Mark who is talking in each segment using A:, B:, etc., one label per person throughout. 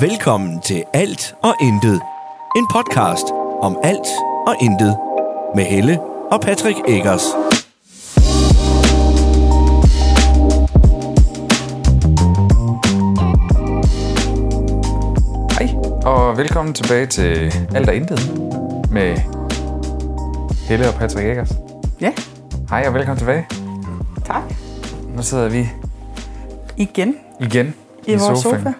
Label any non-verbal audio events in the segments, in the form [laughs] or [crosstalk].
A: Velkommen til Alt og Intet. En podcast om alt og intet. Med Helle og Patrick Eggers.
B: Hej, og velkommen tilbage til Alt og Intet med Helle og Patrick Eggers.
C: Ja,
B: Hej og velkommen tilbage.
C: tak.
B: Nu sidder vi
C: Igen
B: igen
C: i,
B: i
C: vores sofa.
B: sofaen,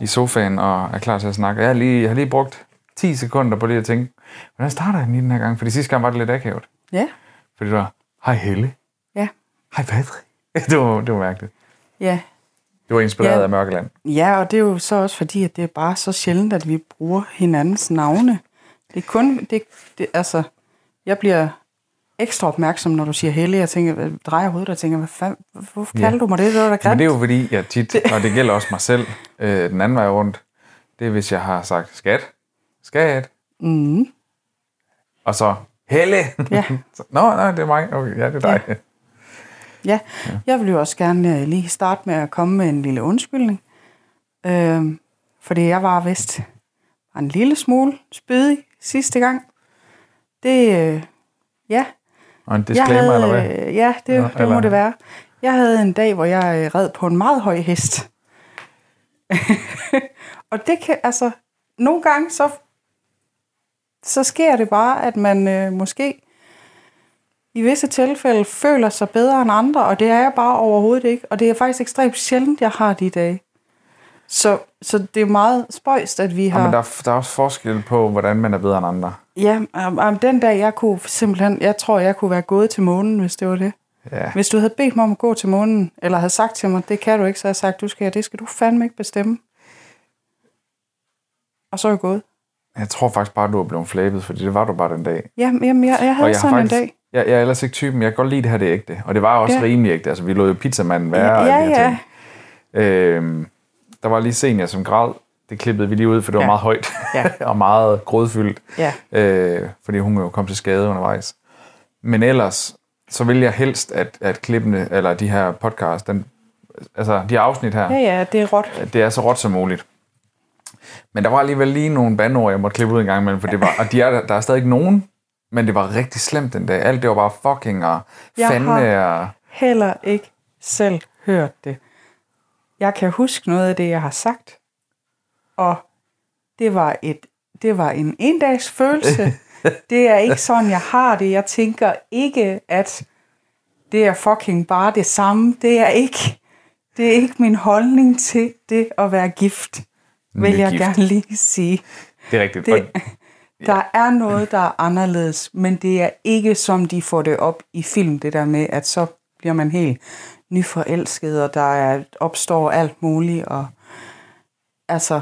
B: i sofaen og er klar til at snakke. Jeg, har lige, jeg har lige brugt 10 sekunder på lige at tænke, hvordan starter jeg lige den her gang? Fordi sidste gang var det lidt akavet.
C: Ja,
B: Fordi det var, hej Helle,
C: ja,
B: hej Patrick. [laughs] Det var, det var mærkeligt.
C: ja.
B: Det var inspireret
C: Ja.
B: af Mørkeland.
C: Ja, og det er jo så også fordi, at det er bare så sjældent, at vi bruger hinandens navne. Det er kun, det, det altså, jeg bliver ekstra opmærksom, når du siger Helle. Jeg tænker, jeg drejer hovedet og tænker, hvad fanden, hvorfor
B: Ja.
C: kalder du mig det? Det var da grimt.
B: Men det er jo fordi, jeg tit, og det gælder også mig selv, øh, den anden vej rundt, det er hvis jeg har sagt skat, skat,
C: Mm,
B: og så Helle.
C: Ja.
B: [laughs] Så, Nå, nej, det er mig. Okay, ja, det er dig. Ja.
C: ja. ja, jeg vil jo også gerne øh, lige starte med at komme med en lille undskyldning. Øhm, fordi jeg var vist en lille smule spydig sidste gang. Det, øh, ja,
B: Og en disclaimer,
C: jeg havde,
B: eller hvad?
C: øh, Ja, det,
B: Nå,
C: Nå, det
B: eller-
C: må det være. Jeg havde en dag, hvor jeg øh, red på en meget høj hest. [laughs] og det kan, altså, nogle gange så, så sker det bare, at man øh, måske i visse tilfælde føler sig bedre end andre, og det er jeg bare overhovedet ikke. Og det er faktisk ekstremt sjældent, jeg har de dage. Så, så det er meget spøjst, at vi har...
B: Ja. Men der, er, der er også forskel på, hvordan man er bedre end andre.
C: Ja, om, om den dag, jeg kunne simpelthen, jeg tror, jeg kunne være gået til månen, hvis det var det.
B: Ja.
C: Hvis du havde bedt mig om at gå til månen, eller havde sagt til mig, det kan du ikke, så havde jeg sagt, du skal, det skal du fandme ikke bestemme. Og så er jeg gået.
B: Jeg tror faktisk bare, du er blevet flæbet, fordi det var du bare den dag.
C: Ja, jamen, jeg, jeg havde
B: jeg
C: sådan en dag.
B: Jeg, jeg er ellers ikke typen. Jeg kan godt lide det her, det er ægte. Og det var også ja.
C: Ja.
B: rimelig ægte. Altså, vi lod jo pizzamanden være. og
C: ja,
B: alle de her
C: ja.
B: ting. Øhm, der var lige senior som græd. Det klippede vi lige ud, for det var
C: Ja.
B: meget højt
C: Ja.
B: [laughs] og meget grådfyldt.
C: Ja.
B: Øh, fordi hun jo kom til skade undervejs. Men ellers, så vil jeg helst, at, at klippene, eller de her podcast, den, altså de her afsnit her,
C: Ja, ja, det er råt.
B: at det er så råt som muligt. Men der var alligevel lige nogle bandord, jeg måtte klippe ud en gang imellem, for det var, og de er, der- der er stadig ikke nogen, men det var rigtig slemt den dag. Alt det var bare fucking og
C: Jeg
B: fandme og...
C: Heller ikke selv hørt det. Jeg kan huske noget af det, jeg har sagt. Og det var, et, det var en endags følelse. Det er ikke sådan, jeg har det. Jeg tænker ikke, at det er fucking bare det samme. Det er ikke, det er ikke min holdning til det at være gift, vil
B: Nygift.
C: jeg gerne lige sige.
B: Det er rigtigt.
C: Det,
B: Og,
C: [laughs] der er noget, der er anderledes, men det er ikke som de får det op i film, det der med, at så bliver man helt nyforelsket, og der er, opstår alt muligt. Og, altså,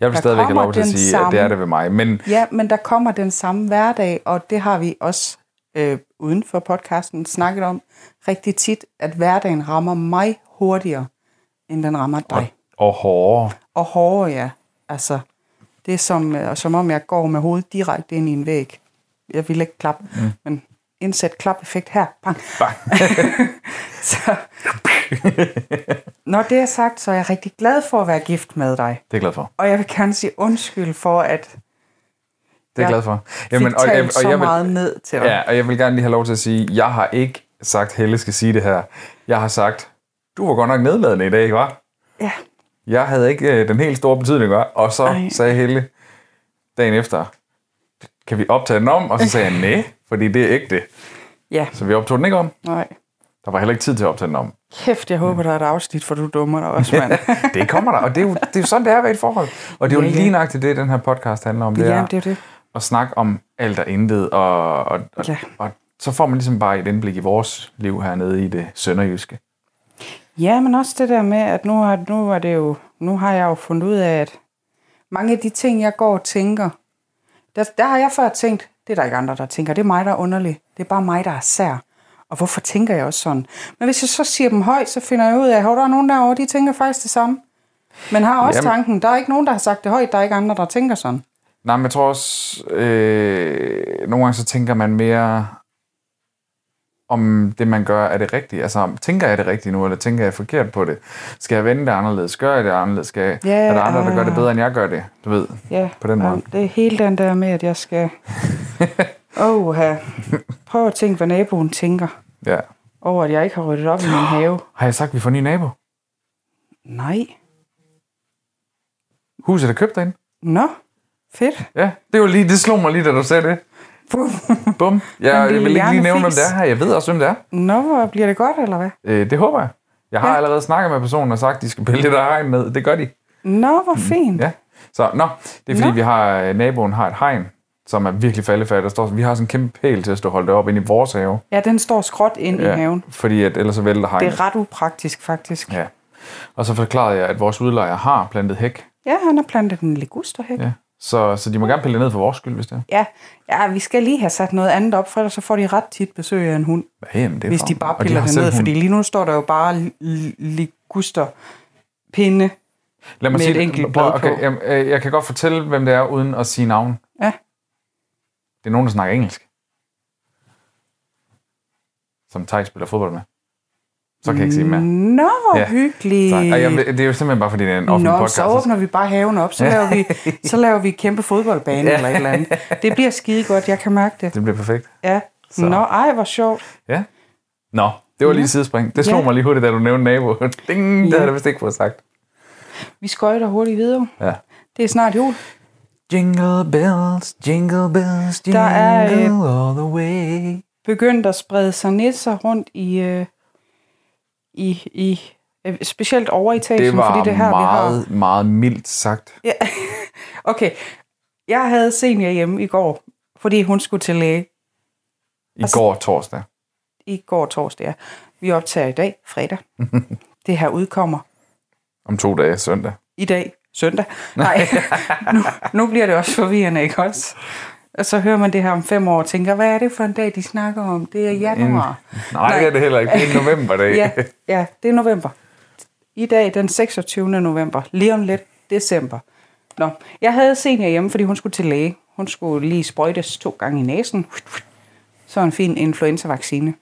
B: jeg vil
C: der
B: stadigvæk have
C: kommer
B: lov til at
C: den
B: sige, at
C: samme-
B: det er det ved mig. Men
C: ja, men der kommer den samme hverdag, og det har vi også øh, uden for podcasten snakket om rigtig tit, at hverdagen rammer mig hurtigere, end den rammer dig.
B: og hårdere.
C: og hårdere, ja. Altså, det er som, øh, som om jeg går med hovedet direkte ind i en væg. Jeg vil ikke klappe, mm. men indsæt klap-effekt her. Bang.
B: Bang.
C: [laughs] så. Når det er sagt, så er jeg rigtig glad for at være gift med dig.
B: Det er jeg glad for.
C: Og jeg vil gerne sige undskyld for, at
B: Det er jeg
C: Ja.
B: glad for.
C: Jamen, fik og, talt så
B: jeg vil,
C: meget ned til dig.
B: Ja, og jeg vil gerne lige have lov til at sige, jeg har ikke sagt, Helle skal sige det her. Jeg har sagt, du var godt nok nedladende i dag, ikke var?
C: ja.
B: Jeg havde ikke øh, den helt store betydning, var? Og så Ej.
C: Ej.
B: sagde Helle dagen efter, kan vi optage den om? Og så sagde jeg, nej, fordi det er ægte.
C: Ja,
B: Så vi optog den ikke om.
C: nej.
B: Der var heller ikke tid til at optage den om.
C: Kæft, jeg håber, der er et afsnit, for du dummer dig også,
B: [laughs]
C: mand.
B: Det kommer der, og det er jo, det er jo sådan, det er ved et forhold. Og det er jo
C: Ja, ja.
B: lige nøjagtigt det, den her podcast handler om. Det
C: ja,
B: er,
C: det er jo det.
B: at snakke om alt og intet, og, og, og, ja.
C: Ja.
B: og så får man ligesom bare et indblik i vores liv hernede i det sønderjyske.
C: Ja, men også det der med, at nu har, nu er det jo, nu har jeg jo fundet ud af, at mange af de ting, jeg går og tænker, der, der har jeg før tænkt, det er der ikke andre, der tænker, det er mig, der er underlig. Det er bare mig, der er sær. Og hvorfor tænker jeg også sådan? Men hvis jeg så siger dem højt, så finder jeg ud af, at hov, der er nogen derovre, de tænker faktisk det samme. Men har også
B: Jamen.
C: Jamen. tanken, der er ikke nogen, der har sagt det højt, der er ikke andre, der tænker sådan.
B: Nej, men jeg tror også, øh, nogle gange så tænker man mere, om det, man gør, er det rigtigt. Altså, om- tænker jeg det rigtigt nu, eller tænker jeg forkert på det? Skal jeg vende det anderledes? Gør jeg det anderledes? Skal jeg,
C: Ja,
B: er der andre, der gør det
C: ah.
B: bedre, end jeg gør det? Du ved,
C: Ja,
B: på den måde.
C: og det er hele den der med, at jeg
B: [laughs]
C: skal... Åh, prøv at tænke, hvad naboen tænker
B: Ja.
C: over, at jeg ikke har ryddet op i min have.
B: Har jeg sagt, at vi får en ny nabo?
C: Nej.
B: Huset er købt derinde.
C: Nå, fedt.
B: Ja, det var lige, det slog mig lige, da du sagde det.
C: Bum.
B: Bum. Jeg, jeg
C: lille
B: vil ikke lige nævne, hvem
C: hjernefis.
B: det er her. Jeg ved også, hvem det er.
C: [laughs] Nå, hvor bliver det godt, eller hvad?
B: Øh, det håber jeg. Jeg har
C: Ja.
B: ja. allerede snakket med personen og sagt, at de skal pille det der hegn ned. Det gør de.
C: Nå, hvor fint.
B: Mm. Ja. Så, nå, det er fordi,
C: Nå.
B: vi har, øh, naboen har et hegn, som er virkelig faldefærdigt. Der står, vi har sådan en kæmpe pæl til at stå og holde det op inde i vores have.
C: Ja, den står skråt ind ja. i haven.
B: Fordi at ellers så vælter
C: Det
B: hegnet.
C: er ret upraktisk, faktisk.
B: Ja. Og så forklarede jeg, at vores udlejer har plantet hæk.
C: Ja, han har plantet en ligusterhæk. Ja.
B: Ja. Så, så de må gerne pille det ned for vores skyld, hvis det er.
C: ja. Ja, vi skal lige have sat noget andet op, for ellers så får de ret tit besøg af en hund,
B: Ja, jamen, det er
C: hvis
B: for-
C: de bare
B: og
C: piller
B: har
C: de
B: selv
C: ned.
B: hund.
C: Fordi lige nu står der jo bare li- li- ligusterpinde.
B: Lad mig
C: med
B: sige,
C: et enkelt
B: prøv-
C: blad på.
B: okay, jamen, øh, jeg kan godt fortælle, hvem det er, uden at sige navn.
C: Ja.
B: Det er nogen, der snakker engelsk. Som Tej spiller fodbold med. Så kan jeg
C: Mm.
B: ikke sige mere.
C: Nå, hvor
B: Ja.
C: ja. hyggeligt.
B: Så, ej, jamen, det, det er jo simpelthen bare, fordi det er en offentlig
C: Øh, Nå,
B: podcast.
C: så åbner vi bare haven op, så laver vi,
B: [laughs]
C: så laver vi en kæmpe fodboldbane eller et eller andet. Det bliver skide godt, jeg kan mærke det.
B: Det bliver perfekt.
C: Ja.
B: Så.
C: Nå, ej, hvor sjovt.
B: Ja. Nå, det var lige et sidespring. Det slog
C: Ja.
B: mig lige hurtigt, da du nævnte naboen. [laughs] Ding, det havde jeg vist ikke fået sagt.
C: Vi skøjter hurtigt videre.
B: Ja.
C: Det er snart jul.
B: Jingle bells, jingle bells,
C: Der
B: jingle
C: er, øh,
B: all the way.
C: Begyndt at sprede sig nisser rundt i, øh, i, i øh, specielt over etagen,
B: Det var
C: fordi det er her, vi har.
B: meget, meget mildt sagt.
C: Okay, jeg havde senior hjemme i går, fordi hun skulle til læge
B: I går torsdag.
C: i går torsdag. ja. Vi optager i dag,
B: [laughs]
C: fredag. det her udkommer
B: Om to dage, søndag.
C: i dag, søndag. Nej, [laughs] nu, nu bliver det også forvirrende, ikke også? Og så hører man det her om fem år og tænker, hvad er det for en dag, de snakker om? Det er januar.
B: Nej,
C: Nej.
B: Nej, det er det heller ikke. Det er en novemberdag. [laughs]
C: [laughs] Ja, ja, det er november. I dag, den 26. november, lige om lidt, december. Nå, jeg havde senior hjemme, fordi hun skulle til læge. Hun skulle lige sprøjtes to gange i næsen. Så en fin influenzavaccine.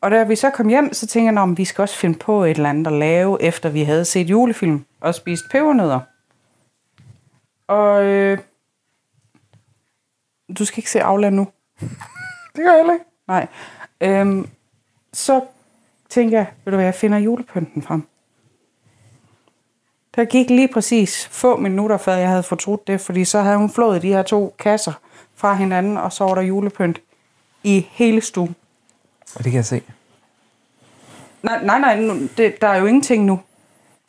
C: Og da vi så kom hjem, så tænkte jeg, at vi skal også finde på et eller andet at lave, efter vi havde set julefilm og spist pebernødder. Og øh, du skal ikke se Afland nu.
B: Det gør jeg heller ikke.
C: Nej. Øhm, så tænker jeg, ved du hvad, jeg finder julepynten frem. Der gik lige præcis få minutter, før jeg havde fortrudt det, fordi så havde hun flået de her to kasser fra hinanden, og så var der julepynt i hele stuen.
B: Det kan jeg se.
C: Nej, nej, nej nu, det, der er jo ingenting nu.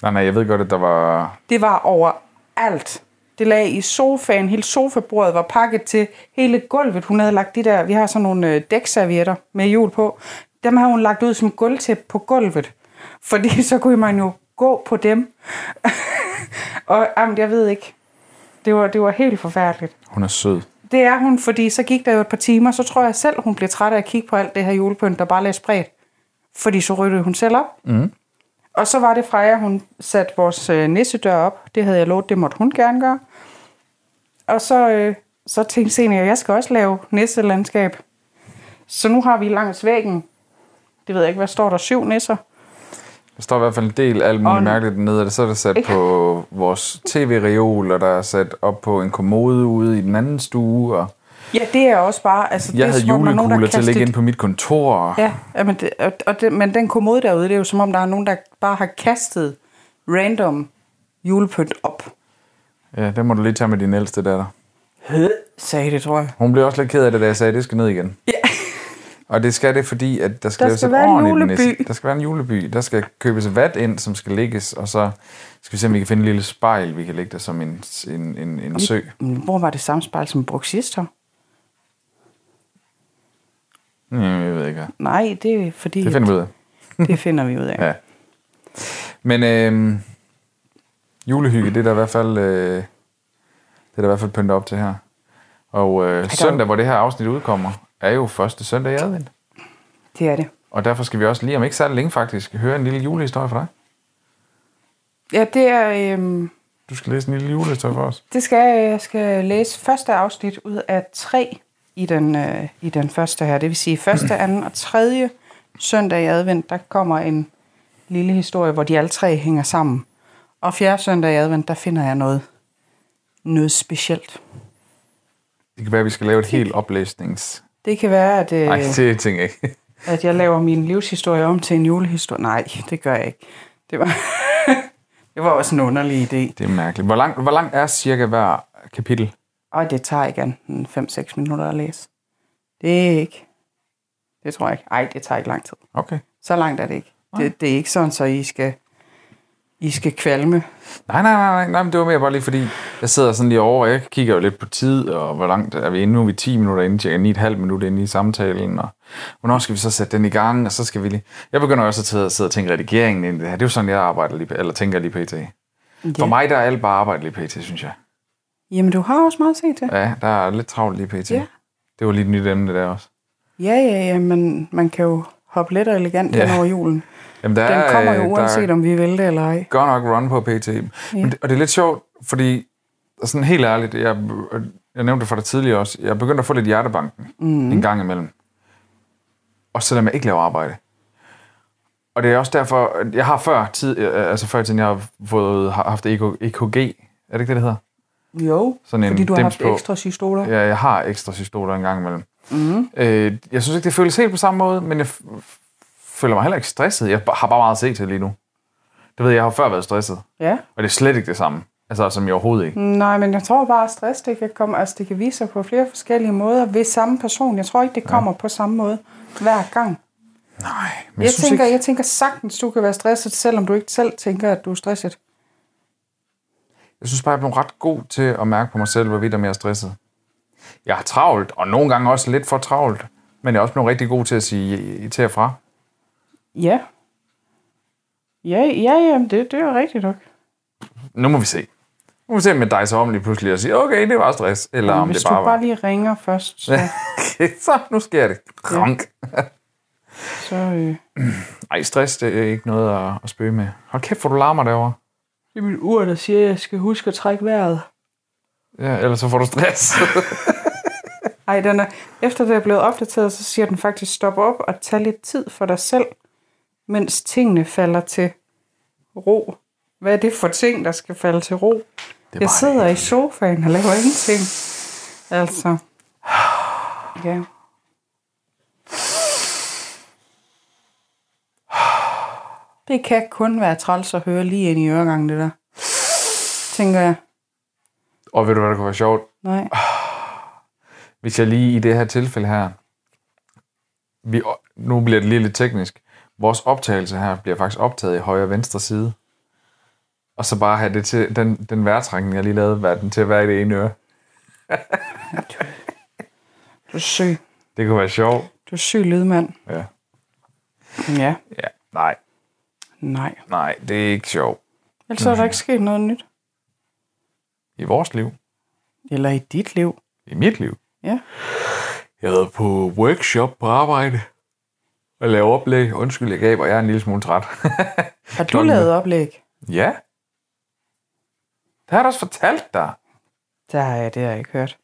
B: Nej, nej, jeg ved godt, at der var...
C: Det var overalt. Det lag i sofaen, hele sofabordet var pakket til, hele gulvet. Hun havde lagt de der, vi har sådan nogle øh, dækservietter med hjul på. Dem har hun lagt ud som gulvtæppe på gulvet. Fordi [laughs] så kunne man jo gå på dem. [laughs] og jamen, jeg ved ikke. Det var, det var helt forfærdeligt.
B: Hun er sød.
C: Det er hun, fordi så gik der jo et par timer, så tror jeg selv, hun blev træt af at kigge på alt det her julepynt, der bare lagde spredt. Fordi så ryddede hun selv op. Mm.
B: Mhm.
C: Og så var det Freja, hun satte vores øh, nissedør op. Det havde jeg lovet, det måtte hun gerne gøre. Og så, øh, så tænkte Senior, jeg skal også lave nisselandskab. Så nu har vi langs væggen, det ved jeg ikke, hvad står der, syv nisser.
B: Der står i hvert fald en del alt muligt
C: Og-
B: mærkeligt nede, og så er det sat på vores tv-reol, og der er sat op på en kommode ude i den anden stue, og
C: Ja, det er også bare... Altså, det
B: jeg
C: er,
B: havde
C: som om der er nogen, der
B: julekugler til at ligge
C: kastede-
B: inde på mit kontor. og-
C: Ja, ja, men, det, og, og det, men den kommode derude, det er jo som om, der er nogen, der bare har kastet random julepynt op.
B: ja det må du lige tage med din ældste datter.
C: Sagde det, tror jeg.
B: Hun blev også lidt ked af det, da jeg sagde, at det skal ned igen. Ja. Og det skal det, fordi at der skal,
C: Der
B: laves
C: skal
B: et
C: være en
B: ordentligt
C: juleby.
B: nisse. Der skal være en juleby. Der skal købes vat ind, som skal lægges, og så skal vi se, om vi kan finde en lille spejl, vi kan lægge der som en, en, en, en sø.
C: Men hvor var det samme spejl som brugt sidst her?
B: Hmm, jeg ved ikke, hvad.
C: Nej, det er fordi...
B: Det finder vi ud af.
C: det finder vi ud af.
B: Ja. Men øh, julehygge, det er der i hvert fald, øh, det er der i hvert fald pyntet op til her. Og øh, søndag, hvor det her afsnit udkommer, er jo første søndag i advent.
C: Det er det.
B: Og derfor skal vi også lige om ikke særlig længe faktisk høre en lille julehistorie fra dig.
C: Ja, det er... Øhm,
B: Du skal læse en lille julehistorie for os.
C: det skal jeg skal læse første afsnit ud af tre i den, øh, i den første her. Det vil sige, første, anden og tredje søndag i advent, der kommer en lille historie, hvor de alle tre hænger sammen. Og fjerde søndag i advent, der finder jeg noget, noget specielt.
B: Det kan være, at vi skal lave et helt oplæsnings...
C: Det kan være, at, øh,
B: Nej, det tænker jeg ikke.
C: at jeg laver min livshistorie om til en julehistorie. Nej, det gør jeg ikke. Det var, [laughs] det var også en underlig idé.
B: Det er mærkeligt. Hvor langt hvor lang er cirka hver kapitel?
C: Og det tager ikke andet end 5-6 minutter at læse. Det er ikke... Det tror jeg ikke. Ej, det tager ikke lang tid.
B: Okay.
C: Så langt er det ikke. Det, det er ikke sådan, så I skal, I skal kvalme.
B: Nej, nej, nej, nej, nej, men det var mere bare lige fordi, jeg sidder sådan lige over, og jeg kigger jo lidt på tid, og hvor langt er vi inde? Nu er vi 10 minutter inde, cirka 9,5 minutter inde i samtalen, og hvornår skal vi så sætte den i gang, og så skal vi lige... Jeg begynder også at sidde og, sidde og tænke redigeringen ind i det her. Det er jo sådan, jeg arbejder lige, eller tænker lige pt. For mig, der er alt bare arbejde lige pt, synes jeg.
C: Jamen, du har også meget set det.
B: Ja, der er lidt travlt lige pt.
C: Ja.
B: Det var lige et nyt emne der også.
C: Ja, ja, ja, men man kan jo hoppe let og elegant
B: Ja.
C: ja. hen over julen.
B: Jamen, der
C: Den
B: er,
C: kommer jo
B: øh,
C: uanset,
B: der
C: om vi vil det eller ej.
B: er godt nok run på PT. Men det, og det er lidt sjovt, fordi sådan helt ærligt, jeg, jeg nævnte det for dig tidligere også, jeg begyndte at få lidt hjertebanken mm. en gang imellem. Og selvom jeg ikke laver arbejde. Og det er også derfor, at jeg har før, tid, øh, altså før i tiden, jeg har fået, har haft E EK, EKG, er det ikke det, det hedder?
C: Jo,
B: Sådan en
C: fordi du har
B: dims
C: haft
B: på.
C: ekstra systoler. Ja.
B: Ja, jeg har ekstra cystoler en gang imellem. Mm. Øh, jeg synes ikke, det føles helt på samme måde, men jeg f- f- føler mig heller ikke stresset. Jeg har bare meget at se til lige nu. Det ved jeg, jeg har før været stresset,
C: ja.
B: og det er slet ikke det samme. Altså, som jeg overhovedet ikke.
C: Nej, men jeg tror bare, at stress det kan, komme, altså, det kan vise sig på flere forskellige måder ved samme person. Jeg tror ikke, det kommer ja. på samme måde hver gang.
B: Nej, men
C: Jeg,
B: jeg,
C: jeg,
B: synes
C: tænker,
B: ikke...
C: jeg tænker sagtens, du kan være stresset, selvom du ikke selv tænker, at du er stresset.
B: Jeg synes bare, jeg er blevet ret god til at mærke på mig selv, hvorvidt om jeg er stresset. Jeg har travlt, og nogle gange også lidt for travlt. Men jeg er også blevet rigtig god til at sige til og fra.
C: Ja. Ja, ja, ja, det, det er jo rigtigt nok.
B: Nu må vi se. Nu må vi se, om jeg dejser om lige pludselig og siger, okay, det var stress. Eller om
C: Hvis
B: det bare
C: du
B: var...
C: bare lige ringer først, så... Ja.
B: så nu sker det. Kronk.
C: så øh,
B: Ej, stress, det er ikke noget at, at spøge med. Hold kæft, hvor du larmer derovre.
C: det er mit ur, der siger, at jeg skal huske at trække vejret.
B: Ja, ellers så får du stress. [laughs]
C: Ej, den er, efter det er blevet opdateret, så siger den faktisk, stop op og tag lidt tid for dig selv, mens tingene falder til ro. Hvad er det for ting, der skal falde til ro?
B: er
C: Jeg
B: bare
C: sidder i sofaen og laver ingenting. Altså. Ja. Det kan kun være træls at høre lige ind i øregangen, det der. Tænker jeg.
B: og ved du, hvad der kunne være sjovt?
C: Nej.
B: Hvis jeg lige i det her tilfælde her... Vi, nu bliver det lige lidt teknisk. Vores optagelse her bliver faktisk optaget i højre og venstre side. Og så bare have det til, den, den vejrtrækning, jeg lige lavede, være den til at være i det ene øre.
C: Du er syg.
B: Det kunne være sjovt.
C: Du er syg lydmand.
B: Ja.
C: Ja.
B: ja. Nej,
C: Nej.
B: nej, det er ikke sjovt.
C: Ellers er der ikke sket noget nyt.
B: I vores liv.
C: Eller i dit liv.
B: I mit liv.
C: Ja.
B: Jeg har været på workshop på arbejde og lavet oplæg. Undskyld, jeg gav, og jeg er en lille smule træt.
C: Har du
B: Klokken er-
C: lavet oplæg?
B: [laughs] ja. Det har jeg da også fortalt dig.
C: Der har jeg, det har jeg ikke hørt.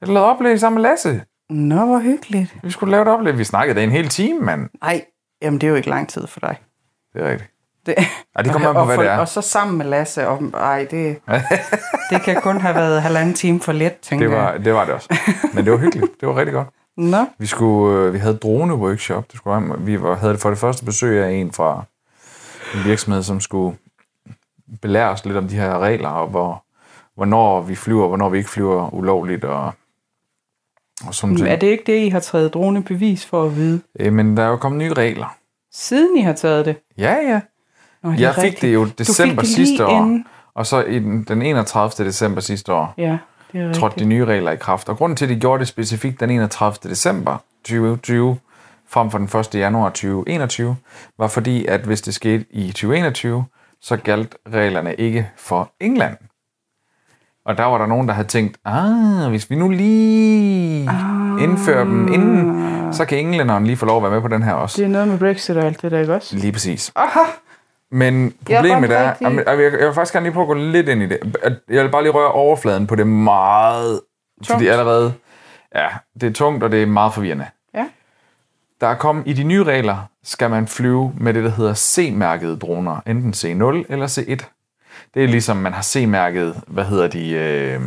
B: Jeg lavede oplæg sammen med Lasse.
C: Nå, hvor hyggeligt.
B: Vi skulle lave et oplæg. Vi snakkede det en hel time, mand.
C: Nej, jamen det er jo ikke lang tid for dig.
B: Det er rigtigt.
C: Det,
B: Ej, det kommer an på,
C: og,
B: hvad
C: for,
B: det er.
C: Og så sammen med Lasse. Og, ej, [laughs] det, det kan kun have været halvanden time for let, tænker
B: Det var,
C: jeg.
B: det var det
C: [laughs]
B: også. Men det var hyggeligt. Det var rigtig godt.
C: Nå,
B: Vi, skulle, øh, vi havde drone-workshop. Det skulle, være- vi var, havde for det første besøg af en fra en virksomhed, som skulle belære os lidt om de her regler, og hvor, hvornår vi flyver, og hvornår vi ikke flyver ulovligt, og, og sådan
C: er
B: noget.
C: det ikke det, I har taget dronebevis for at vide?
B: Det... Men der er jo kommet nye regler.
C: Siden I har taget det?
B: Ja, ja.
C: Nå, det er
B: Jeg fik det jo
C: rigtigt. Du fik
B: december
C: det lige
B: sidste år,
C: inden.
B: og så i den, den 31. december sidste år
C: Ja, det er
B: trådte de
C: rigtigt.
B: nye regler i kraft. Og grunden til, at de gjorde det specifikt den 31. december 2020, frem for den 1. januar 2021, var fordi, at hvis det skete i 2021, så galt reglerne ikke for England. Og der var der nogen, der havde tænkt, ah, hvis vi nu lige indfører dem inden, så kan englænderen lige få lov at være med på den her også.
C: Det er noget med Brexit og alt det der, ikke også?
B: Lige præcis.
C: Aha!
B: Men
C: Jeg er
B: problemet
C: bare
B: er,
C: rigtig-
B: jamen, jeg, jeg vil faktisk gerne lige prøve at gå lidt ind i det. Jeg vil bare lige røre overfladen på det meget, tungt. fordi allerede, ja, det er tungt, og det er meget forvirrende.
C: Ja.
B: Der er kommet, i de nye regler skal man flyve med det, der hedder C-mærkede droner, enten C0 eller C1. Det er ligesom, man har C-mærket, hvad hedder de, øh,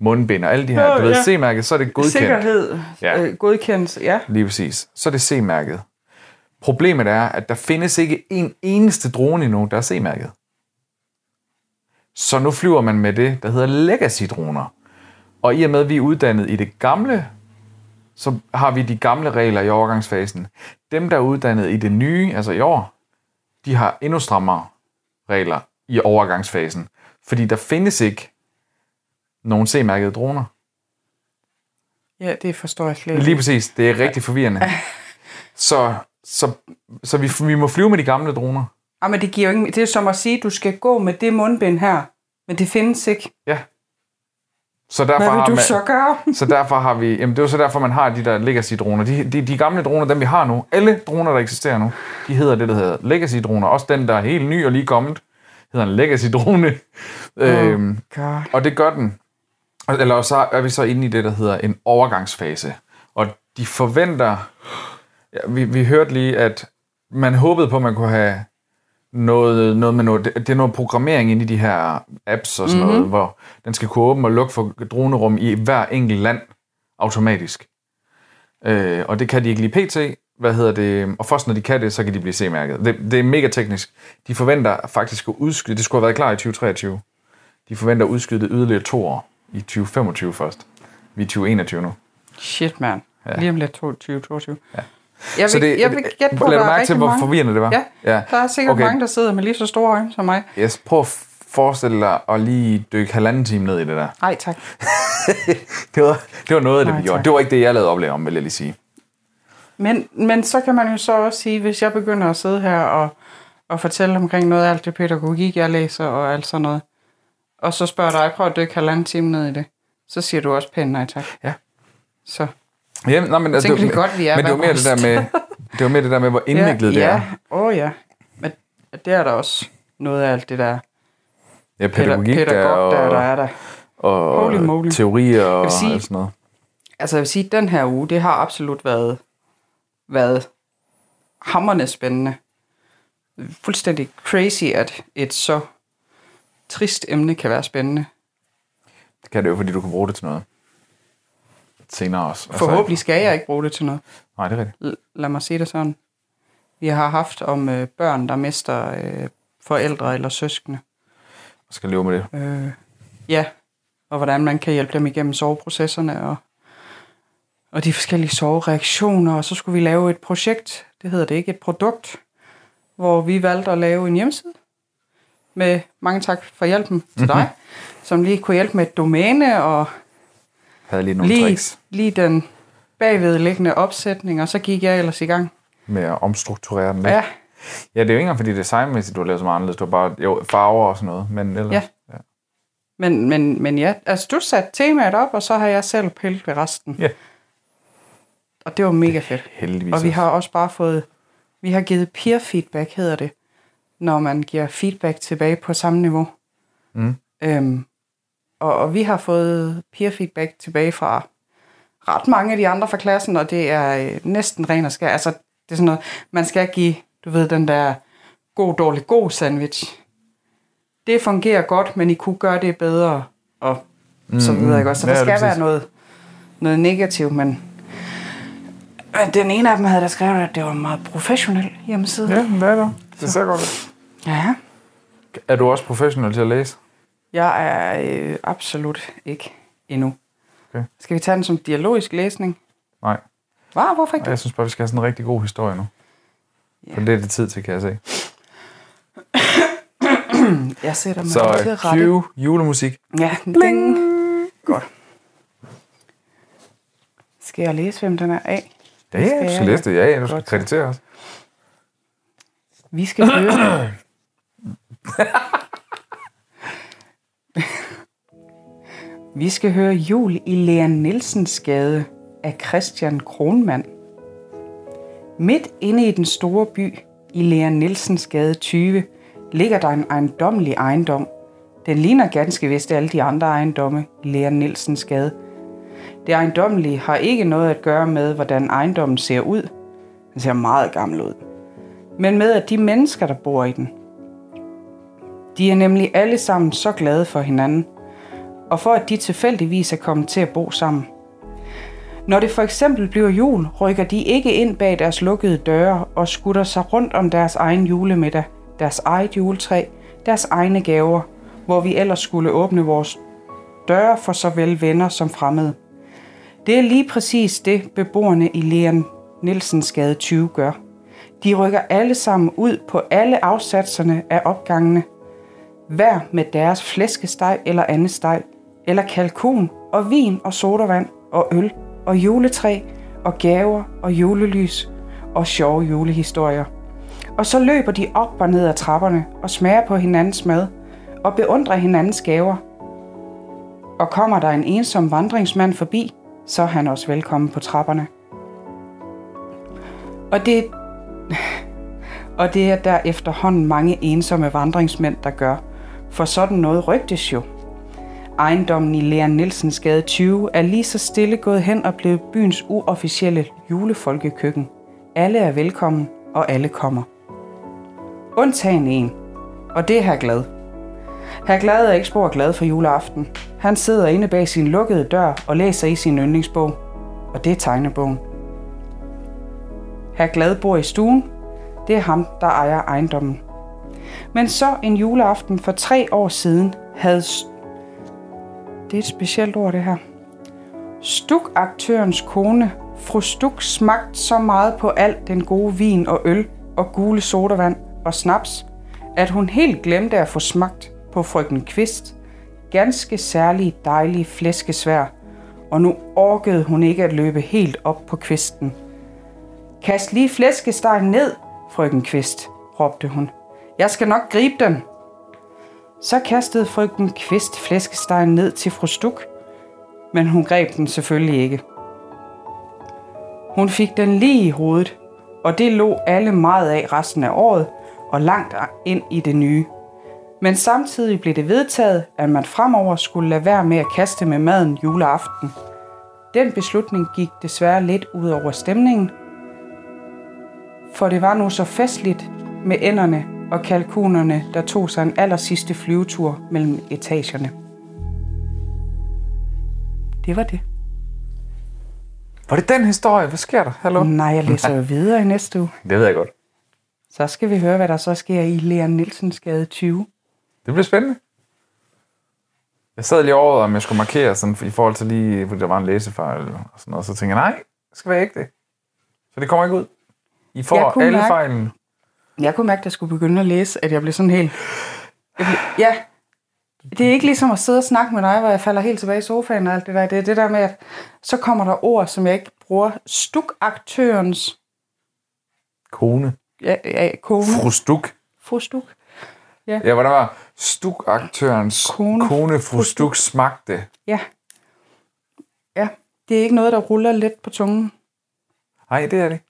B: mundbind og alle de her.
C: Nå,
B: Du ved,
C: ja.
B: C-mærket, så er det godkendt.
C: Sikkerhed,
B: Ja.
C: ja. øh, godkendt, ja.
B: Lige præcis. Så er det C-mærket. Problemet er, at der findes ikke en eneste drone endnu, der er C-mærket. Så nu flyver man med det, der hedder legacy-droner. Og i og med, at vi er uddannet i det gamle, så har vi de gamle regler i overgangsfasen. Dem, der er uddannet i det nye, altså i år, de har endnu strammere regler i overgangsfasen. Fordi der findes ikke nogen C-mærkede droner.
C: Ja, det forstår jeg slet
B: Lige
C: ikke.
B: præcis. Det er rigtig forvirrende. Så, så, så vi, vi må flyve med de gamle droner.
C: Ah, men det giver jo ikke... Det er som at sige, at du skal gå med det mundbind her, men det findes ikke.
B: Ja. Så derfor
C: Hvad
B: har
C: vil du
B: man,
C: så gøre?
B: så derfor har vi... Jamen, det er jo så derfor, man har de der legacy-droner. De, de, de gamle droner, dem vi har nu, alle droner, der eksisterer nu, de hedder det, der hedder legacy-droner. Også den, der er helt ny og lige kommet, hedder en legacy-drone. Øhm,
C: God.
B: Og det gør den. Eller så er vi så inde i det, der hedder en overgangsfase. Og de forventer... Ja, vi, vi hørte lige, at man håbede på, at man kunne have noget, noget med noget... Det er noget programmering inde i de her apps og sådan mm-hmm. noget, hvor den skal kunne åbne og lukke for dronerum i hver enkelt land automatisk. Øh, og det kan de ikke lige pt. Hvad hedder det? Og først når de kan det, så kan de blive C-mærket. Det, det er mega teknisk. De forventer faktisk at udskyde... Det skulle have været klar i 2023. De forventer at udskyde det yderligere to år i 2025 først. Vi er 2021 nu.
C: Shit, mand. Ja. Lige om lidt 22, 22. Ja. Jeg vil,
B: Så det,
C: jeg vil gætte på,
B: lad
C: der
B: du
C: er
B: mærke
C: rigtig
B: til, hvor
C: mange.
B: forvirrende det var?
C: Ja, ja, der er sikkert okay. mange, der sidder med lige så store øjne som mig.
B: Jeg yes, prøv at forestille dig at lige dykke halvanden time ned i det der.
C: Nej, tak.
B: Det var, det var noget af det,
C: Nej,
B: vi gjorde.
C: tak.
B: Det var ikke det, jeg lavede oplæg om, vil jeg lige sige.
C: Men, men så kan man jo så også sige, hvis jeg begynder at sidde her og, og fortælle omkring noget af alt det pædagogik, jeg læser og alt sådan noget, og så spørger dig, prøv at dykke halvanden time ned i det, så siger du også pænt nej tak.
B: Ja.
C: Så
B: Ja, nej, men,
C: Tænker de godt, vi er
B: men det var mere det
C: hver
B: der med, det var mere det der med, hvor indviklet
C: ja,
B: det er.
C: ja. Åh oh, ja. Men det er der også noget af alt det der
B: Ja, pædagogik
C: pædagog,
B: der, og,
C: der, der er der.
B: og, og
C: Holy moly.
B: teorier og
C: vil sige-
B: sådan noget.
C: Altså jeg vil sige, at den her uge, det har absolut været, været hammerne spændende. Fuldstændig crazy, at et så trist emne kan være spændende.
B: Det kan det jo, fordi du kan bruge det til noget. Senere også. Altså-
C: Forhåbentlig skal jeg ikke bruge det til noget.
B: Nej, det er rigtigt.
C: L- lad mig sige det sådan. Vi har haft om øh, børn, der mister øh, forældre eller søskende.
B: Jeg skal leve med det.
C: Øh, ja, og hvordan man kan hjælpe dem igennem soveprocesserne og, og de forskellige sovereaktioner. Og så skulle vi lave et projekt, det hedder det ikke, et produkt, hvor vi valgte at lave en hjemmeside med mange tak for hjælpen
B: Mhm.
C: til dig, som lige kunne hjælpe med et domæne og
B: havde lige nogle lige.
C: lige,
B: tricks
C: lige den bagvedliggende opsætning, og så gik jeg ellers i gang.
B: med at omstrukturere den lidt.
C: Ja,
B: ja det er jo ikke engang, fordi designmæssigt, du har lavet så meget anderledes. Du har bare jo, farver og sådan noget. Men ellers,
C: Ja. Men, men, men ja, altså du satte temaet op, og så har jeg selv pillet ved resten.
B: Ja.
C: Og det var mega fedt.
B: heldigvis.
C: Og vi
B: også.
C: har også bare fået, vi har givet peer feedback, hedder det, når man giver feedback tilbage på samme niveau.
B: Mm.
C: Øhm, og, og vi har fået peer feedback tilbage fra ret mange af de andre fra klassen, og det er øh, næsten ren og skær. Altså, det er sådan noget, man skal give, du ved, den der god, dårlig, god sandwich. Det fungerer godt, men I kunne gøre det bedre, og mm, så videre, ikke også? Så
B: Ja,
C: der
B: det er
C: skal være
B: præcis.
C: noget, noget negativt, men men den ene af dem havde der skrevet, at det var en meget professionel hjemmeside.
B: Ja, hvad er det? Det ser godt ud.
C: ja.
B: Er du også professionel til at læse?
C: Jeg er øh, absolut ikke endnu.
B: Okay.
C: Skal vi tage den som dialogisk læsning?
B: Nej.
C: Wow, hvorfor ikke
B: Og
C: det?
B: Jeg synes bare, vi skal have sådan en rigtig god historie nu.
A: Ja.
B: For det er det tid til, kan jeg se.
C: Jeg sætter mig
B: Så
C: så, til
B: øh,
C: rette.
B: cue julemusik.
C: Ja, ding. Godt. Skal jeg læse, hvem den er af?
B: Ja, ja, du
C: jeg,
B: skal
C: ja.
B: læse det. Ja, ja, du skal
C: Godt.
B: kreditere os.
C: Vi skal høre. Vi skal høre jul i Leon Nielsens gade af Christian Kronmann. Midt inde i den store by i Leon Nielsens gade 20 ligger der en ejendommelig ejendom. Den ligner ganske vist alle de andre ejendomme i Lærer Nielsens gade. Det ejendommelige har ikke noget at gøre med, hvordan ejendommen ser ud. Den ser meget gammel ud. Men med, at de mennesker, der bor i den, de er nemlig alle sammen så glade for hinanden, og for at de tilfældigvis er kommet til at bo sammen. Når det for eksempel bliver jul, rykker de ikke ind bag deres lukkede døre og skutter sig rundt om deres egen julemiddag, deres eget juletræ, deres egne gaver, hvor vi ellers skulle åbne vores døre for såvel venner som fremmede. Det er lige præcis det, beboerne i Leon Nielsens gade 20 gør. De rykker alle sammen ud på alle afsatserne af opgangene, hver med deres flæskesteg eller anden steg, eller kalkun og vin og sodavand og øl og juletræ og gaver og julelys og sjove julehistorier. Og så løber de op og ned ad trapperne og smager på hinandens mad og beundrer hinandens gaver. Og kommer der en ensom vandringsmand forbi, så er han også velkommen på trapperne. Og det, [laughs] og det er der efterhånden mange ensomme vandringsmænd, der gør. For sådan noget rygtes jo. Ejendommen i Leon Nielsens gade 20 er lige så stille gået hen og blevet byens uofficielle julefolkekøkken. Alle er velkommen, og alle kommer. Undtagen en, og det er herr Glad. Herr Glad er ikke spor glad for juleaften. Han sidder inde bag sin lukkede dør og læser i sin yndlingsbog, og det er tegnebogen. Herr Glad bor i stuen. Det er ham, der ejer ejendommen. Men så en juleaften for tre år siden havde st- det er et specielt ord, det her. Stukaktørens kone, fru Stuk, smagte så meget på alt den gode vin og øl og gule sodavand og snaps, at hun helt glemte at få smagt på frøken Kvist, ganske særlige dejlige flæskesvær, og nu orkede hun ikke at løbe helt op på kvisten. Kast lige flæskestegen ned, frøken Kvist, råbte hun. Jeg skal nok gribe den. Så kastede frygten kvist flæskestegen ned til fru Stuk, men hun greb den selvfølgelig ikke. Hun fik den lige i hovedet, og det lå alle meget af resten af året og langt ind i det nye. Men samtidig blev det vedtaget, at man fremover skulle lade være med at kaste med maden juleaften. Den beslutning gik desværre lidt ud over stemningen, for det var nu så festligt med enderne og kalkunerne, der tog sig en aller sidste flyvetur mellem etagerne. Det var det.
B: Var det den historie? Hvad sker der? Hallo?
C: Nej, jeg læser jo videre i næste uge.
B: Det ved jeg godt.
C: Så skal vi høre, hvad der så sker i Leon Nielsens gade 20.
B: Det bliver spændende. Jeg sad lige over, om jeg skulle markere sådan, i forhold til lige, fordi der var en læsefejl og sådan noget. Så tænkte jeg, nej, det skal være ægte. Så det kommer ikke ud. I
C: Jeg
B: får
C: kunne
B: alle
C: mærke-
B: fejlen.
C: Jeg kunne mærke, at jeg skulle begynde at læse, at jeg blev sådan helt... Jeg blev... Ja, det er ikke ligesom at sidde og snakke med dig, hvor jeg falder helt tilbage i sofaen og alt det der. Det er det der med, at så kommer der ord, som jeg ikke bruger. Stukaktørens
B: Kone.
C: ja, ja, kone.
B: Fru Stuk.
C: Fru Stuk.
B: Ja, hvor der var Stuk-aktørens
C: Kone.
B: kone, kone fru Stuk smagte.
C: Ja. Ja, det er ikke noget, der ruller lidt på tungen.
B: Nej, det er det.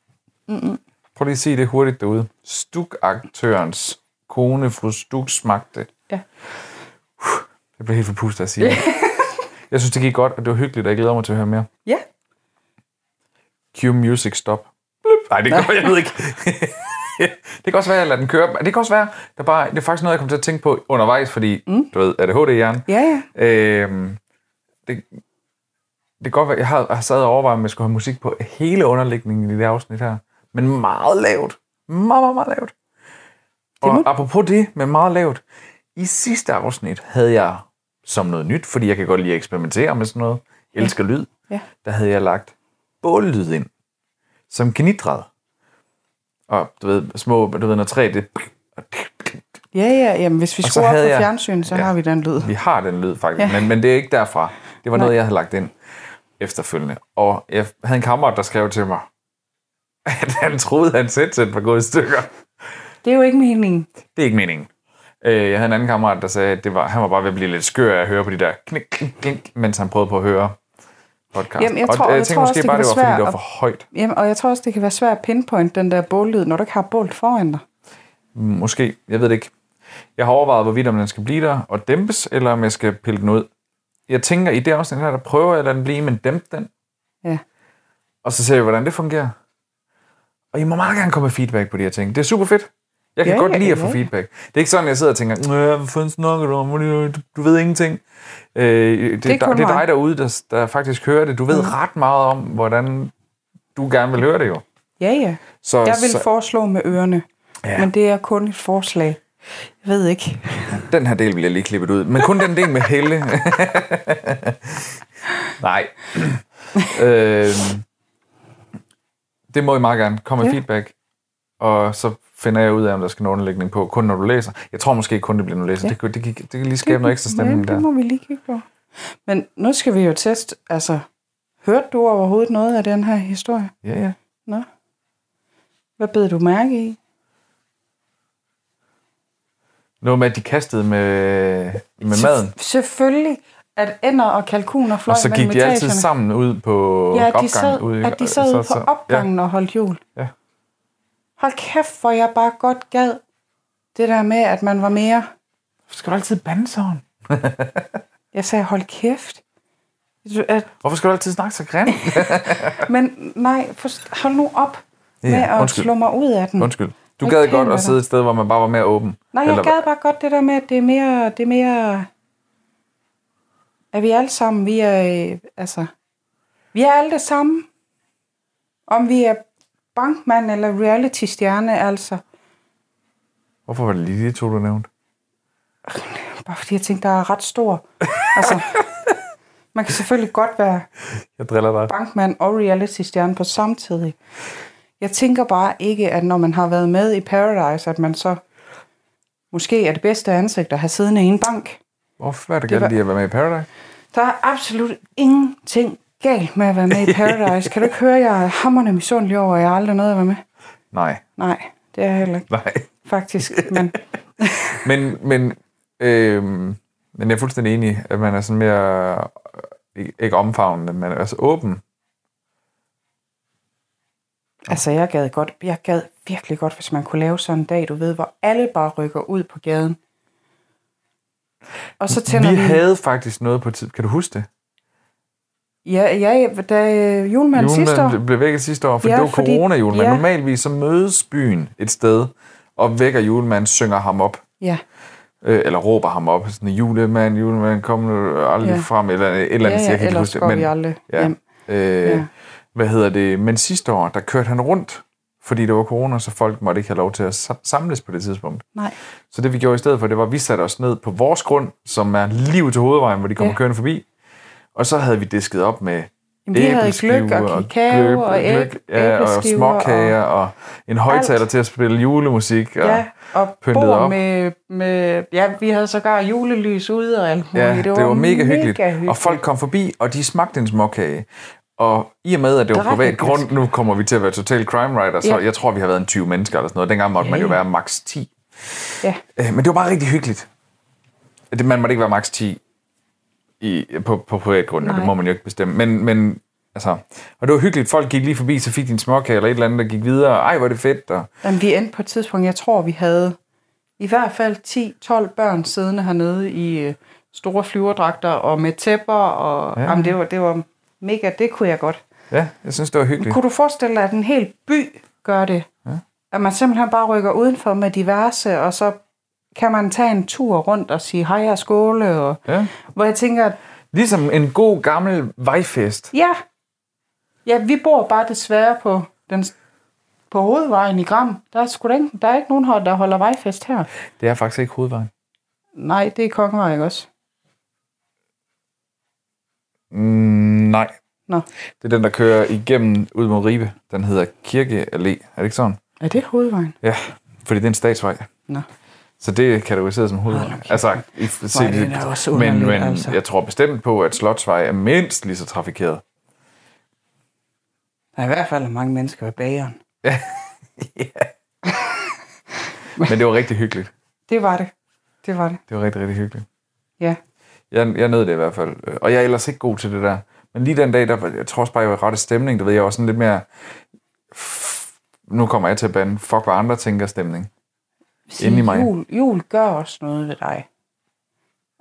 B: Mm-mm. Prøv lige at sige det hurtigt derude. Stuk-aktørens kone fru Stuk smagte.
C: Ja.
B: Jeg blev helt forpustet af at sige
C: [laughs]
B: det. Jeg synes, det gik godt, og det var hyggeligt, og jeg glæder mig til at høre mere.
C: Ja,
B: Cue music stop. Blip. Nej, det går jeg ved ikke. [laughs] det kan også være, at jeg lader den køre. Men Det kan også være, der bare, det er faktisk noget, jeg kom til at tænke på undervejs, fordi, mm. du ved, ADHD-hjernen.
C: ja, ja.
B: Øhm, det, det kan godt være, jeg har, har sad og overvejet, om jeg skulle have musik på hele underlægningen i det afsnit her. Men meget lavt. Meget, meget, meget lavt. Og
C: må-
B: apropos det, men meget lavt. I sidste afsnit havde jeg som noget nyt, fordi jeg kan godt lide at eksperimentere med sådan noget. Jeg elsker lyd.
C: Ja.
B: Der havde jeg lagt bållyd ind, som gnidrede. Og du ved, små, du ved, når træ, det...
C: Ja, ja, jamen hvis vi
B: Og så
C: skruer op på
B: havde jeg-
C: fjernsyn, så
B: Ja.
C: har vi den lyd.
B: Vi har den lyd faktisk,
C: Ja.
B: ja. men, men det er ikke derfra. Det var noget, jeg havde lagt ind efterfølgende. Og jeg havde en kammerat, der skrev til mig, at han troede, at hans headset var gået i stykker.
C: Det er jo ikke meningen.
B: Det er ikke meningen. Øh, Jeg havde en anden kammerat, der sagde, at det var, han var bare ved at blive lidt skør af at høre på de der knik, knik, knik, mens han prøvede på at høre podcast.
C: Jamen, jeg tror-
B: og
C: jeg
B: jeg tænkte
C: tror også,
B: måske
C: det
B: bare,
C: kan
B: det var,
C: være
B: fordi det var
C: svært
B: for højt.
C: Jamen, og jeg tror også, det kan være svært at pinpoint den der bållyd, når du ikke har bålet foran dig.
B: Måske, jeg ved det ikke. Jeg har overvejet, hvorvidt om den skal blive der og dæmpes, eller om jeg skal pille den ud. Jeg tænker, i det afsnit her, der prøver jeg at lade den blive, men dæmpe den.
C: Ja.
B: Og så ser vi, hvordan det fungerer. Og I må meget gerne komme med feedback på de her ting. Det er super fedt. Jeg kan
C: Ja,
B: godt
C: ja,
B: lide at få
C: ja.
B: feedback. Det er ikke sådan, jeg sidder og tænker, "Nå, hvad fanden snakker du om? Du- Du ved ingenting. Øh, det, det,
C: er
B: er dig,
C: kun
B: det er
C: mig. Mm.
B: dig derude, der, der faktisk hører det. Du ved ret meget om, hvordan du gerne vil høre det jo.
C: Ja, ja.
B: Så,
C: Jeg vil
B: så
C: foreslå med ørerne,
B: Ja.
C: ja. men det er kun et forslag. Jeg ved ikke.
B: den her del vil jeg lige klippe ud. Men kun den del med
C: [laughs]
B: Helle. Nej. øh, det må I meget gerne. Kom med ja.
C: Ja.
B: feedback. Og så finder jeg ud af, om der skal en underlægning på. Kun når du læser. Jeg tror måske kun, det bliver, når du læser. Ja. Det, kan- det, kan- det kan lige skabe noget ekstra stemning
C: [laughs] ja,
B: der.
C: det må vi lige kigge på. Men nu skal vi jo teste, altså, hørte du overhovedet noget af den her historie?
B: Ja, ja.
C: Nå? Hvad bed du mærke i?
B: Noget med, at de kastede med, med maden.
C: Selvf- Selvfølgelig, at ænder og kalkuner fløj
B: Og så gik
C: mellem
B: de altid
C: etagerne.
B: sammen ud på
C: Ja, at de
B: opgangen.
C: sad,
B: ude i-
C: at de sad ude på
B: Ja,
C: opgangen og holdt jul.
B: Ja.
C: Hold kæft, hvor jeg bare godt gad det der med, at man var mere...
B: skal du altid bande sådan?
C: [laughs] Jeg sagde, hold kæft. Du- At,
B: Hvorfor skal du altid snakke så
C: [laughs]
B: grimt?
C: men nej, for, hold nu op med at
B: undskyld.
C: slå mig ud af den.
B: Undskyld. Du
C: Hvor
B: gad
C: pænt
B: godt
C: var
B: at
C: det.
B: sidde et sted, hvor man bare var mere åben.
C: Nej, jeg
B: Eller-
C: gad bare godt det der med, at det er mere... Det er mere at vi alle sammen, vi er... øh, Altså, vi er alle det samme. Om vi er bankmand eller reality-stjerne, altså.
B: Hvorfor var det lige de to, du nævnte?
C: Bare fordi jeg tænkte, der er ret stor. Altså, man kan selvfølgelig godt være
B: Jeg driller dig.
C: bankmand og reality-stjerne på samtidig. Jeg tænker bare ikke, at når man har været med i Paradise, at man så måske er det bedste ansigt at have siddende i en bank.
B: Hvorfor er det galt lige at være med i Paradise?
C: Der er absolut ingenting galt med at være med i Paradise. Kan du ikke høre, jeg er hammerne misundelig over, at jeg aldrig nåede at være med?
B: Nej,
C: Nej, det er jeg heller ikke,
B: nej.
C: faktisk.
B: [laughs]
C: Men
B: Men, men, øhm, men jeg er fuldstændig enig, at man er sådan mere, øh, ikke- ikke omfavnende, men altså åben.
C: Altså, jeg gad, godt, jeg gad virkelig godt, hvis man kunne lave sådan en dag, du ved, hvor alle bare rykker ud på gaden. Og så tænder
B: Vi
C: vi...
B: havde faktisk noget på tid. Kan du huske det?
C: Ja, ja, ja, da øh, julemanden sidste år...
B: Julemanden blev vækket sidste år, for ja,
C: Ja,
B: det var
C: fordi-
B: corona-julemand. Ja.
C: ja.
B: Normalvis så mødes byen et sted, og vækker julemanden, synger ham op.
C: Ja,
B: øh, eller råber ham op, sådan, julemand, julemand, kom nu aldrig
C: Ja.
B: ja. frem, eller et eller
C: ja,
B: andet, jeg kan ikke
C: ja ellers
B: huske
C: går
B: det.
C: vi aldrig ja.
B: ja,
C: hjem.
B: Øh,
C: Ja.
B: Hvad hedder det? Men sidste år, der kørte han rundt, fordi det var corona, så folk måtte ikke have lov til at sa- samles på det tidspunkt.
C: Nej,
B: Så det vi gjorde i stedet for, det var, at vi satte os ned på vores grund, som er lige ud til hovedvejen, hvor de kommer
C: Ja.
B: kørende forbi. Og så havde vi disket op med
C: Jamen, vi havde
B: æbleskiver
C: gløgg og kakao
B: gløgg-
C: og æb-
B: gløgg, ja, og
C: æbleskiver
B: småkager og, og en højtaler til at spille julemusik. Og,
C: ja. ja og
B: pyntet op.
C: bord med, med... Ja, vi havde sågar julelys ude og alt muligt.
B: Ja, det var, det var mega, hyggeligt. mega hyggeligt. Og folk kom forbi, og de smagte en småkage. Og i og med, at det var
C: Det er ret
B: privat
C: hyggeligt.
B: grund, nu kommer vi til at være total crime writer, så
C: Ja.
B: jeg tror, vi har været en 20 mennesker eller sådan noget. Dengang måtte man jo
C: Ja, ja.
B: være maks 10.
C: Ja,
B: Øh, Men det var bare rigtig hyggeligt. Det, man måtte ikke være maks 10 i, på, på privat grund, jo. det
C: Nej.
B: må man jo ikke bestemme. Men, men altså, og det var hyggeligt, folk gik lige forbi, så fik de en småkage eller et eller andet, der gik videre. Ej, hvor er det fedt. Og,
C: Jamen, vi endte på et tidspunkt, jeg tror, vi havde i hvert fald 10-12 børn siddende hernede i øh, store flyverdragter og med tæpper. Og, ja. Jamen, det var, det var mega, det kunne jeg godt.
B: ja, jeg synes, det var hyggeligt.
C: Kunne du forestille dig, at en hel by gør det? Ja. At man simpelthen bare rykker udenfor med diverse, og så kan man tage en tur rundt og sige hej og skåle. Og,
B: Ja.
C: Hvor jeg tænker, at
B: Ligesom en god gammel vejfest.
C: ja, ja, vi bor bare desværre på den på hovedvejen i Gram. Der er, sgu da ikke, der er ikke nogen, hold- der holder vejfest her.
B: Det er faktisk ikke hovedvejen.
C: Nej, det er Kongevej, ikke også?
B: Mm, nej,
C: Nå,
B: Det er den, der kører igennem ud mod Ribe. Den hedder Kirke Allé. Er det ikke sådan?
C: er det hovedvejen?
B: Ja, fordi det er en statsvej.
C: Nå.
B: Så det er kategoriseret som hovedvej. Altså, i, se,
C: den er også
B: men,
C: underlig,
B: men
C: altså.
B: jeg tror bestemt på, at Slotsvej er mindst lige så trafikeret.
C: Der er i hvert fald mange mennesker i bageren.
B: Men det var rigtig hyggeligt.
C: Det var det. Det var det,
B: Det var rigtig, rigtig hyggeligt.
C: ja.
B: Jeg, jeg nød det i hvert fald. Øh, Og jeg er ellers ikke god til det der. Men lige den dag, der, var- jeg tror også bare, jeg var i rette stemning. Du ved, jeg var sådan lidt mere... Nu kommer jeg til at bande. Fuck, hvad andre tænker stemning. Inde i mig.
C: Jul, jul gør også noget ved dig.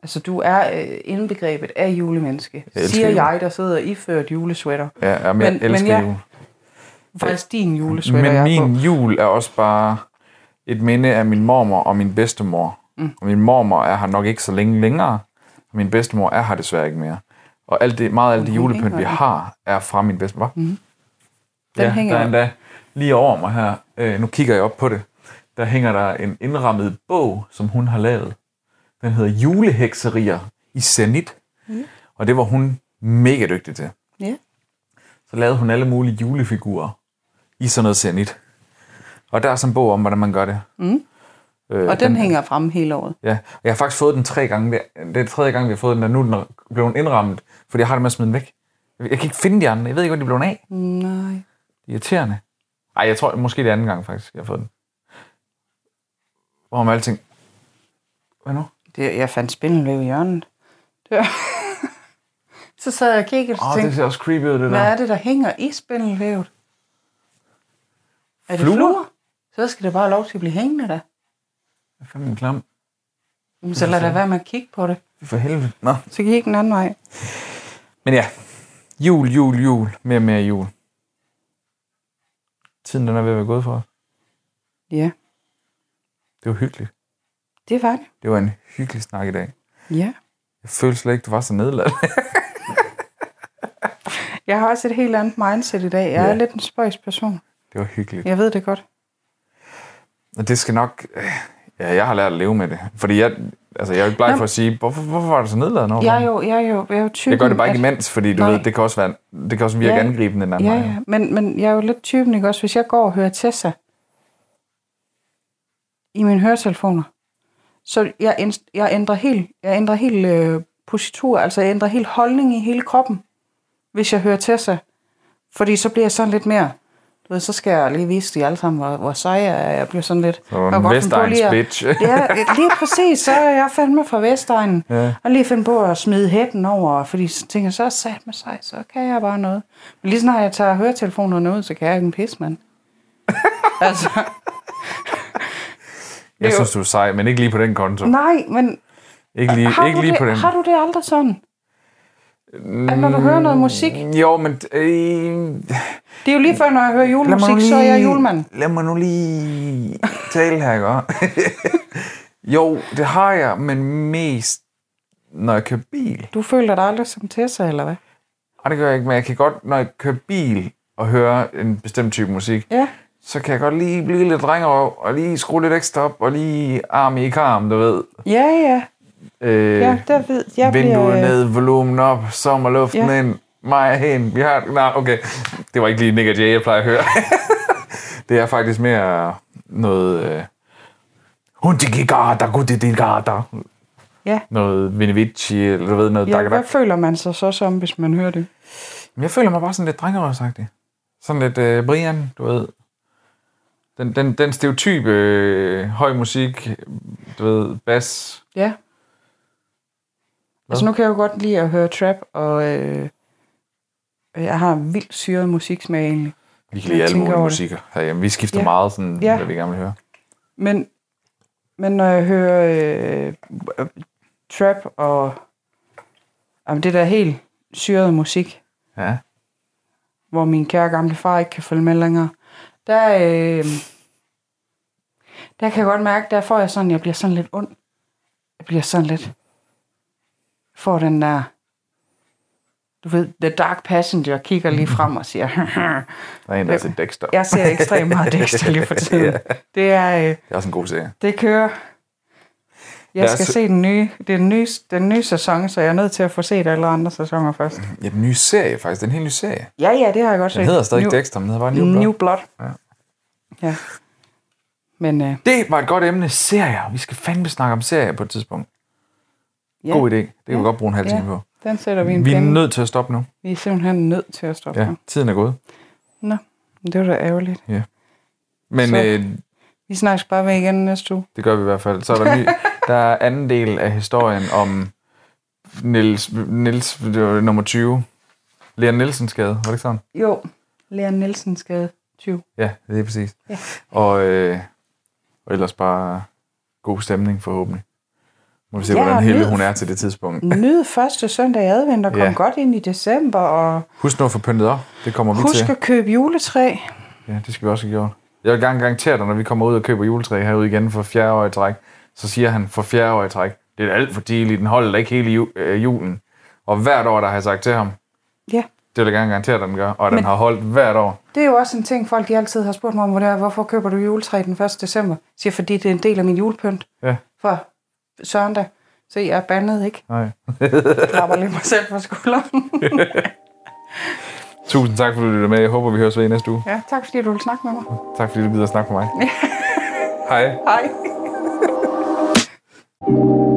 C: Altså, du er øh, indbegrebet af julemenneske,
B: Jeg elsker
C: siger
B: jul.
C: jeg, der sidder iført julesweater.
B: Ja, jamen, jeg
C: Men-
B: men,
C: men
B: elsker men
C: jeg-
B: jeg, jul.
C: Faktisk din julesweater,
B: Men
C: jeg
B: min
C: er på.
B: jul er også bare et minde af min mormor og min bedstemor. Mm. Og min mormor er her nok ikke så længe længere, og min bedstemor er her desværre ikke mere. Og alt det, meget af alt det julepynt, vi har, er fra min bedstemor. Mm.
C: Mm-hmm. Den hænger
B: der er
C: op.
B: endda lige over mig her. Øh, nu kigger jeg op på det. Der hænger der en indrammet bog, som hun har lavet. Den hedder Julehekserier i Zenit. Mm. Og det var hun mega dygtig til
C: Ja.
B: så lavede hun alle mulige julefigurer i sådan noget zenit. Og der er sådan en bog om, hvordan man gør det. Mm. Øh,
C: Og den hænger frem hele året.
B: Ja, og jeg har faktisk fået den tre gange. Det er, det er tredje gang, vi har fået den, og nu er den blevet indrammet, fordi jeg har det med at smide den væk. Jeg kan ikke finde de andre. Jeg ved ikke, hvor de blev af. Det
C: Nej.
B: er irriterende. Ej, jeg tror måske det er anden gang, faktisk, jeg har fået den. Hvor man alting... Hvad nu?
C: Det, jeg fandt spindelvæv i hjørnet. Det var- [laughs] så sad jeg og kiggede og
B: Åh, oh, det
C: tænkte,
B: ser også creepy ud, det
C: hvad
B: der.
C: er det, der hænger i spindelvævet? Er det
B: Fluer?
C: fluer? Så skal det bare have lov til at blive hængende der.
B: Hvad fanden er en klam?
C: Jamen, så lad da være med at kigge på det.
B: For helvede. Nå.
C: Så gik den anden vej.
B: Men ja, jul, jul, jul, mere og mere jul. Tiden den er ved at være gået for os.
C: Ja,
B: Det var hyggeligt.
C: det var det.
B: Det var en hyggelig snak i dag.
C: Ja.
B: Jeg følte slet ikke, du var så nedladt.
C: Jeg har også et helt andet mindset i dag. Jeg er
B: Ja.
C: lidt en spøjs person.
B: [laughs] det var hyggeligt.
C: Jeg ved det godt.
B: Og det skal nok... øh, Ja, jeg har lært at leve med det. Fordi jeg, altså, jeg er jo ikke bleg for at sige, hvorfor, hvorfor var du så nedladet over
C: Jeg
B: mig?"
C: er jo, jeg er jo, jeg er jo typen,
B: jeg gør det bare ikke
C: at-
B: imens, fordi du
C: Nej.
B: ved, det kan også, være, det kan også virke
C: Ja.
B: angribende den anden
C: Ja,
B: vej.
C: ja. Men, men jeg er jo lidt typen, ikke også? Hvis jeg går og hører Tessa i mine høretelefoner, så jeg, ænd- jeg ændrer helt, jeg ændrer helt øh, positur, altså jeg ændrer helt holdning i hele kroppen, hvis jeg hører Tessa. Fordi så bliver jeg sådan lidt mere, du ved, så skal jeg lige vise de alle sammen, hvor, hvor sej jeg er. Jeg bliver sådan lidt...
B: er du en
C: jeg kan godt finde på
B: Vestegns
C: lige at-
B: bitch.
C: Ja, lige præcis, så er jeg fandme fra Vestegnen.
B: Ja.
C: Og lige finde på at smide hætten over, fordi så tænker jeg, så er sat med sig, så kan jeg bare noget. Men lige snart jeg tager høretelefonerne ud, så kan jeg ikke en
B: [laughs]
C: pis, mand. altså,
B: Jeg synes, du er sej, men ikke lige på den konto.
C: nej, men
B: Ikke lige,
C: har,
B: ikke
C: du
B: lige
C: det,
B: på den.
C: har du det aldrig sådan? At når du hører noget musik,
B: Jo, men... Øh,
C: det er jo lige før, når jeg hører
B: Lad mig
C: julemusik,
B: nu
C: så er jeg julemand.
B: Lad mig nu lige tale her, ikke? også? [laughs] jo, det har jeg, men mest når jeg kører bil.
C: Du føler dig aldrig som Tessa, eller hvad?
B: Og det gør jeg ikke, men jeg kan godt, når jeg kører bil og hører en bestemt type musik,
C: Ja,
B: så kan jeg godt lige blive lidt drengerøv, og lige skrue lidt ekstra op, og lige arm i karm, du ved.
C: ja, ja.
B: Øh,
C: ja der ved, jeg
B: vinduet
C: bliver, øh,
B: ned, volumen op, sommerluften
C: Ja.
B: ja. ind, mig hen, vi har... Nej, okay. Det var ikke lige Nick og Jay, jeg plejer at høre. [laughs] det er faktisk mere noget... Øh, Hundigigada, gudigigada.
C: Ja.
B: Noget Vinovici, eller du ved, noget
C: Ja,
B: ja,
C: hvad føler man sig så som, hvis man hører det?
B: Men Jeg føler mig bare sådan lidt drengerøvsagtig. Sådan lidt øh, Brian, du ved. Den, den, den stereotype øh, høj musik, du ved, bas.
C: Ja. Altså nu kan jeg jo godt lide at høre trap, og øh, jeg har en vildt syret musiksmag egentlig.
B: Vi kan
C: Jeg
B: lide alle
C: tænker
B: mulige
C: over det.
B: musikker herhjemme. Vi skifter
C: Ja.
B: ja. meget, sådan,
C: Ja.
B: ja. hvad vi gerne vil høre.
C: Men, men når jeg hører øh, øh, trap og jamen, det der helt syrede musik,
B: Ja.
C: hvor min kære gamle far ikke kan følge med længere, der, øh, der kan jeg godt mærke, der får jeg sådan, jeg bliver sådan lidt ond. Jeg bliver sådan lidt, får den der, du ved, The Dark Passenger kigger lige frem og siger, [laughs]
B: Der er en, der til Dexter.
C: jeg ser ekstremt meget Dexter lige for
B: [laughs]
C: tiden. Det er, øh,
B: Det er også en god serie.
C: det kører. Jeg
B: Jeg
C: skal
B: så-
C: se den nye, det er den nye, den nye sæson, så jeg er nødt til at få set alle andre sæsoner først.
B: Ja, den nye serie faktisk. Den helt nye serie.
C: Ja, ja, det har jeg godt set.
B: Mhm. Den hedder stadig
C: New-
B: New, Dexter, men den hedder bare New,
C: New,
B: Blood.
C: Blood. Ja.
B: Ja.
C: ja. Men øh,
B: Det var et godt emne. Serier. Vi skal fandme snakke om serier på et tidspunkt.
C: ja,
B: God idé. Det kan vi godt bruge en halv time på.
C: ja, den sætter vi en
B: Vi er
C: pinde.
B: nødt til at stoppe nu.
C: vi er simpelthen nødt til at stoppe. Ja.
B: Ja, tiden er gået.
C: Nå, men det var da ærgerligt.
B: Men
C: Så-
B: øh,
C: Vi snakkes bare ved igen næste uge.
B: det gør vi i hvert fald. Så er der,
C: [laughs]
B: ny, der er anden del af historien om Niels, Niels det var nummer 20. Leon Nielsens skade, var det ikke sådan?
C: Jo, Leon Nielsen skade 20.
B: Ja, det er præcis.
C: Ja.
B: Og, øh, og ellers bare god stemning forhåbentlig. Må vi se,
C: Ja,
B: hvordan
C: og
B: Helle
C: nyd-
B: hun er til det tidspunkt.
C: Nyd første søndag i advent og kom
B: Ja.
C: godt ind i december, og
B: Husk nu at få pyntet op. Det kommer vi
C: husk
B: til.
C: at købe juletræ.
B: Ja, det skal vi også have gjort. Jeg vil gerne garantere dig, når vi kommer ud og køber juletræ herude igen for fjerde år i træk, så siger han for fjerde år i træk, det er da alt for tidligt, den holder da ikke hele ju- øh, julen. Og hvert år, der har jeg sagt til ham,
C: Ja,
B: det vil jeg gerne garantere, at den gør, og den
C: Men-
B: har holdt hvert år.
C: det er jo også en ting, folk de altid har spurgt mig om, hvor det er, hvorfor køber du juletræ den 1. december? Jeg siger, fordi det er en del af min julepynt
B: Ja,
C: fra søndag. Så jeg er bandet, ikke?
B: nej.
C: Jeg klapper lidt mig selv på skulderen.
B: Tusind tak, fordi du lyttede med. Jeg håber, vi høres ved i næste uge.
C: Ja, tak fordi du vil snakke med mig.
B: Tak,
C: [laughs]
B: fordi du gider at snakke med mig. Hej.
C: Hej.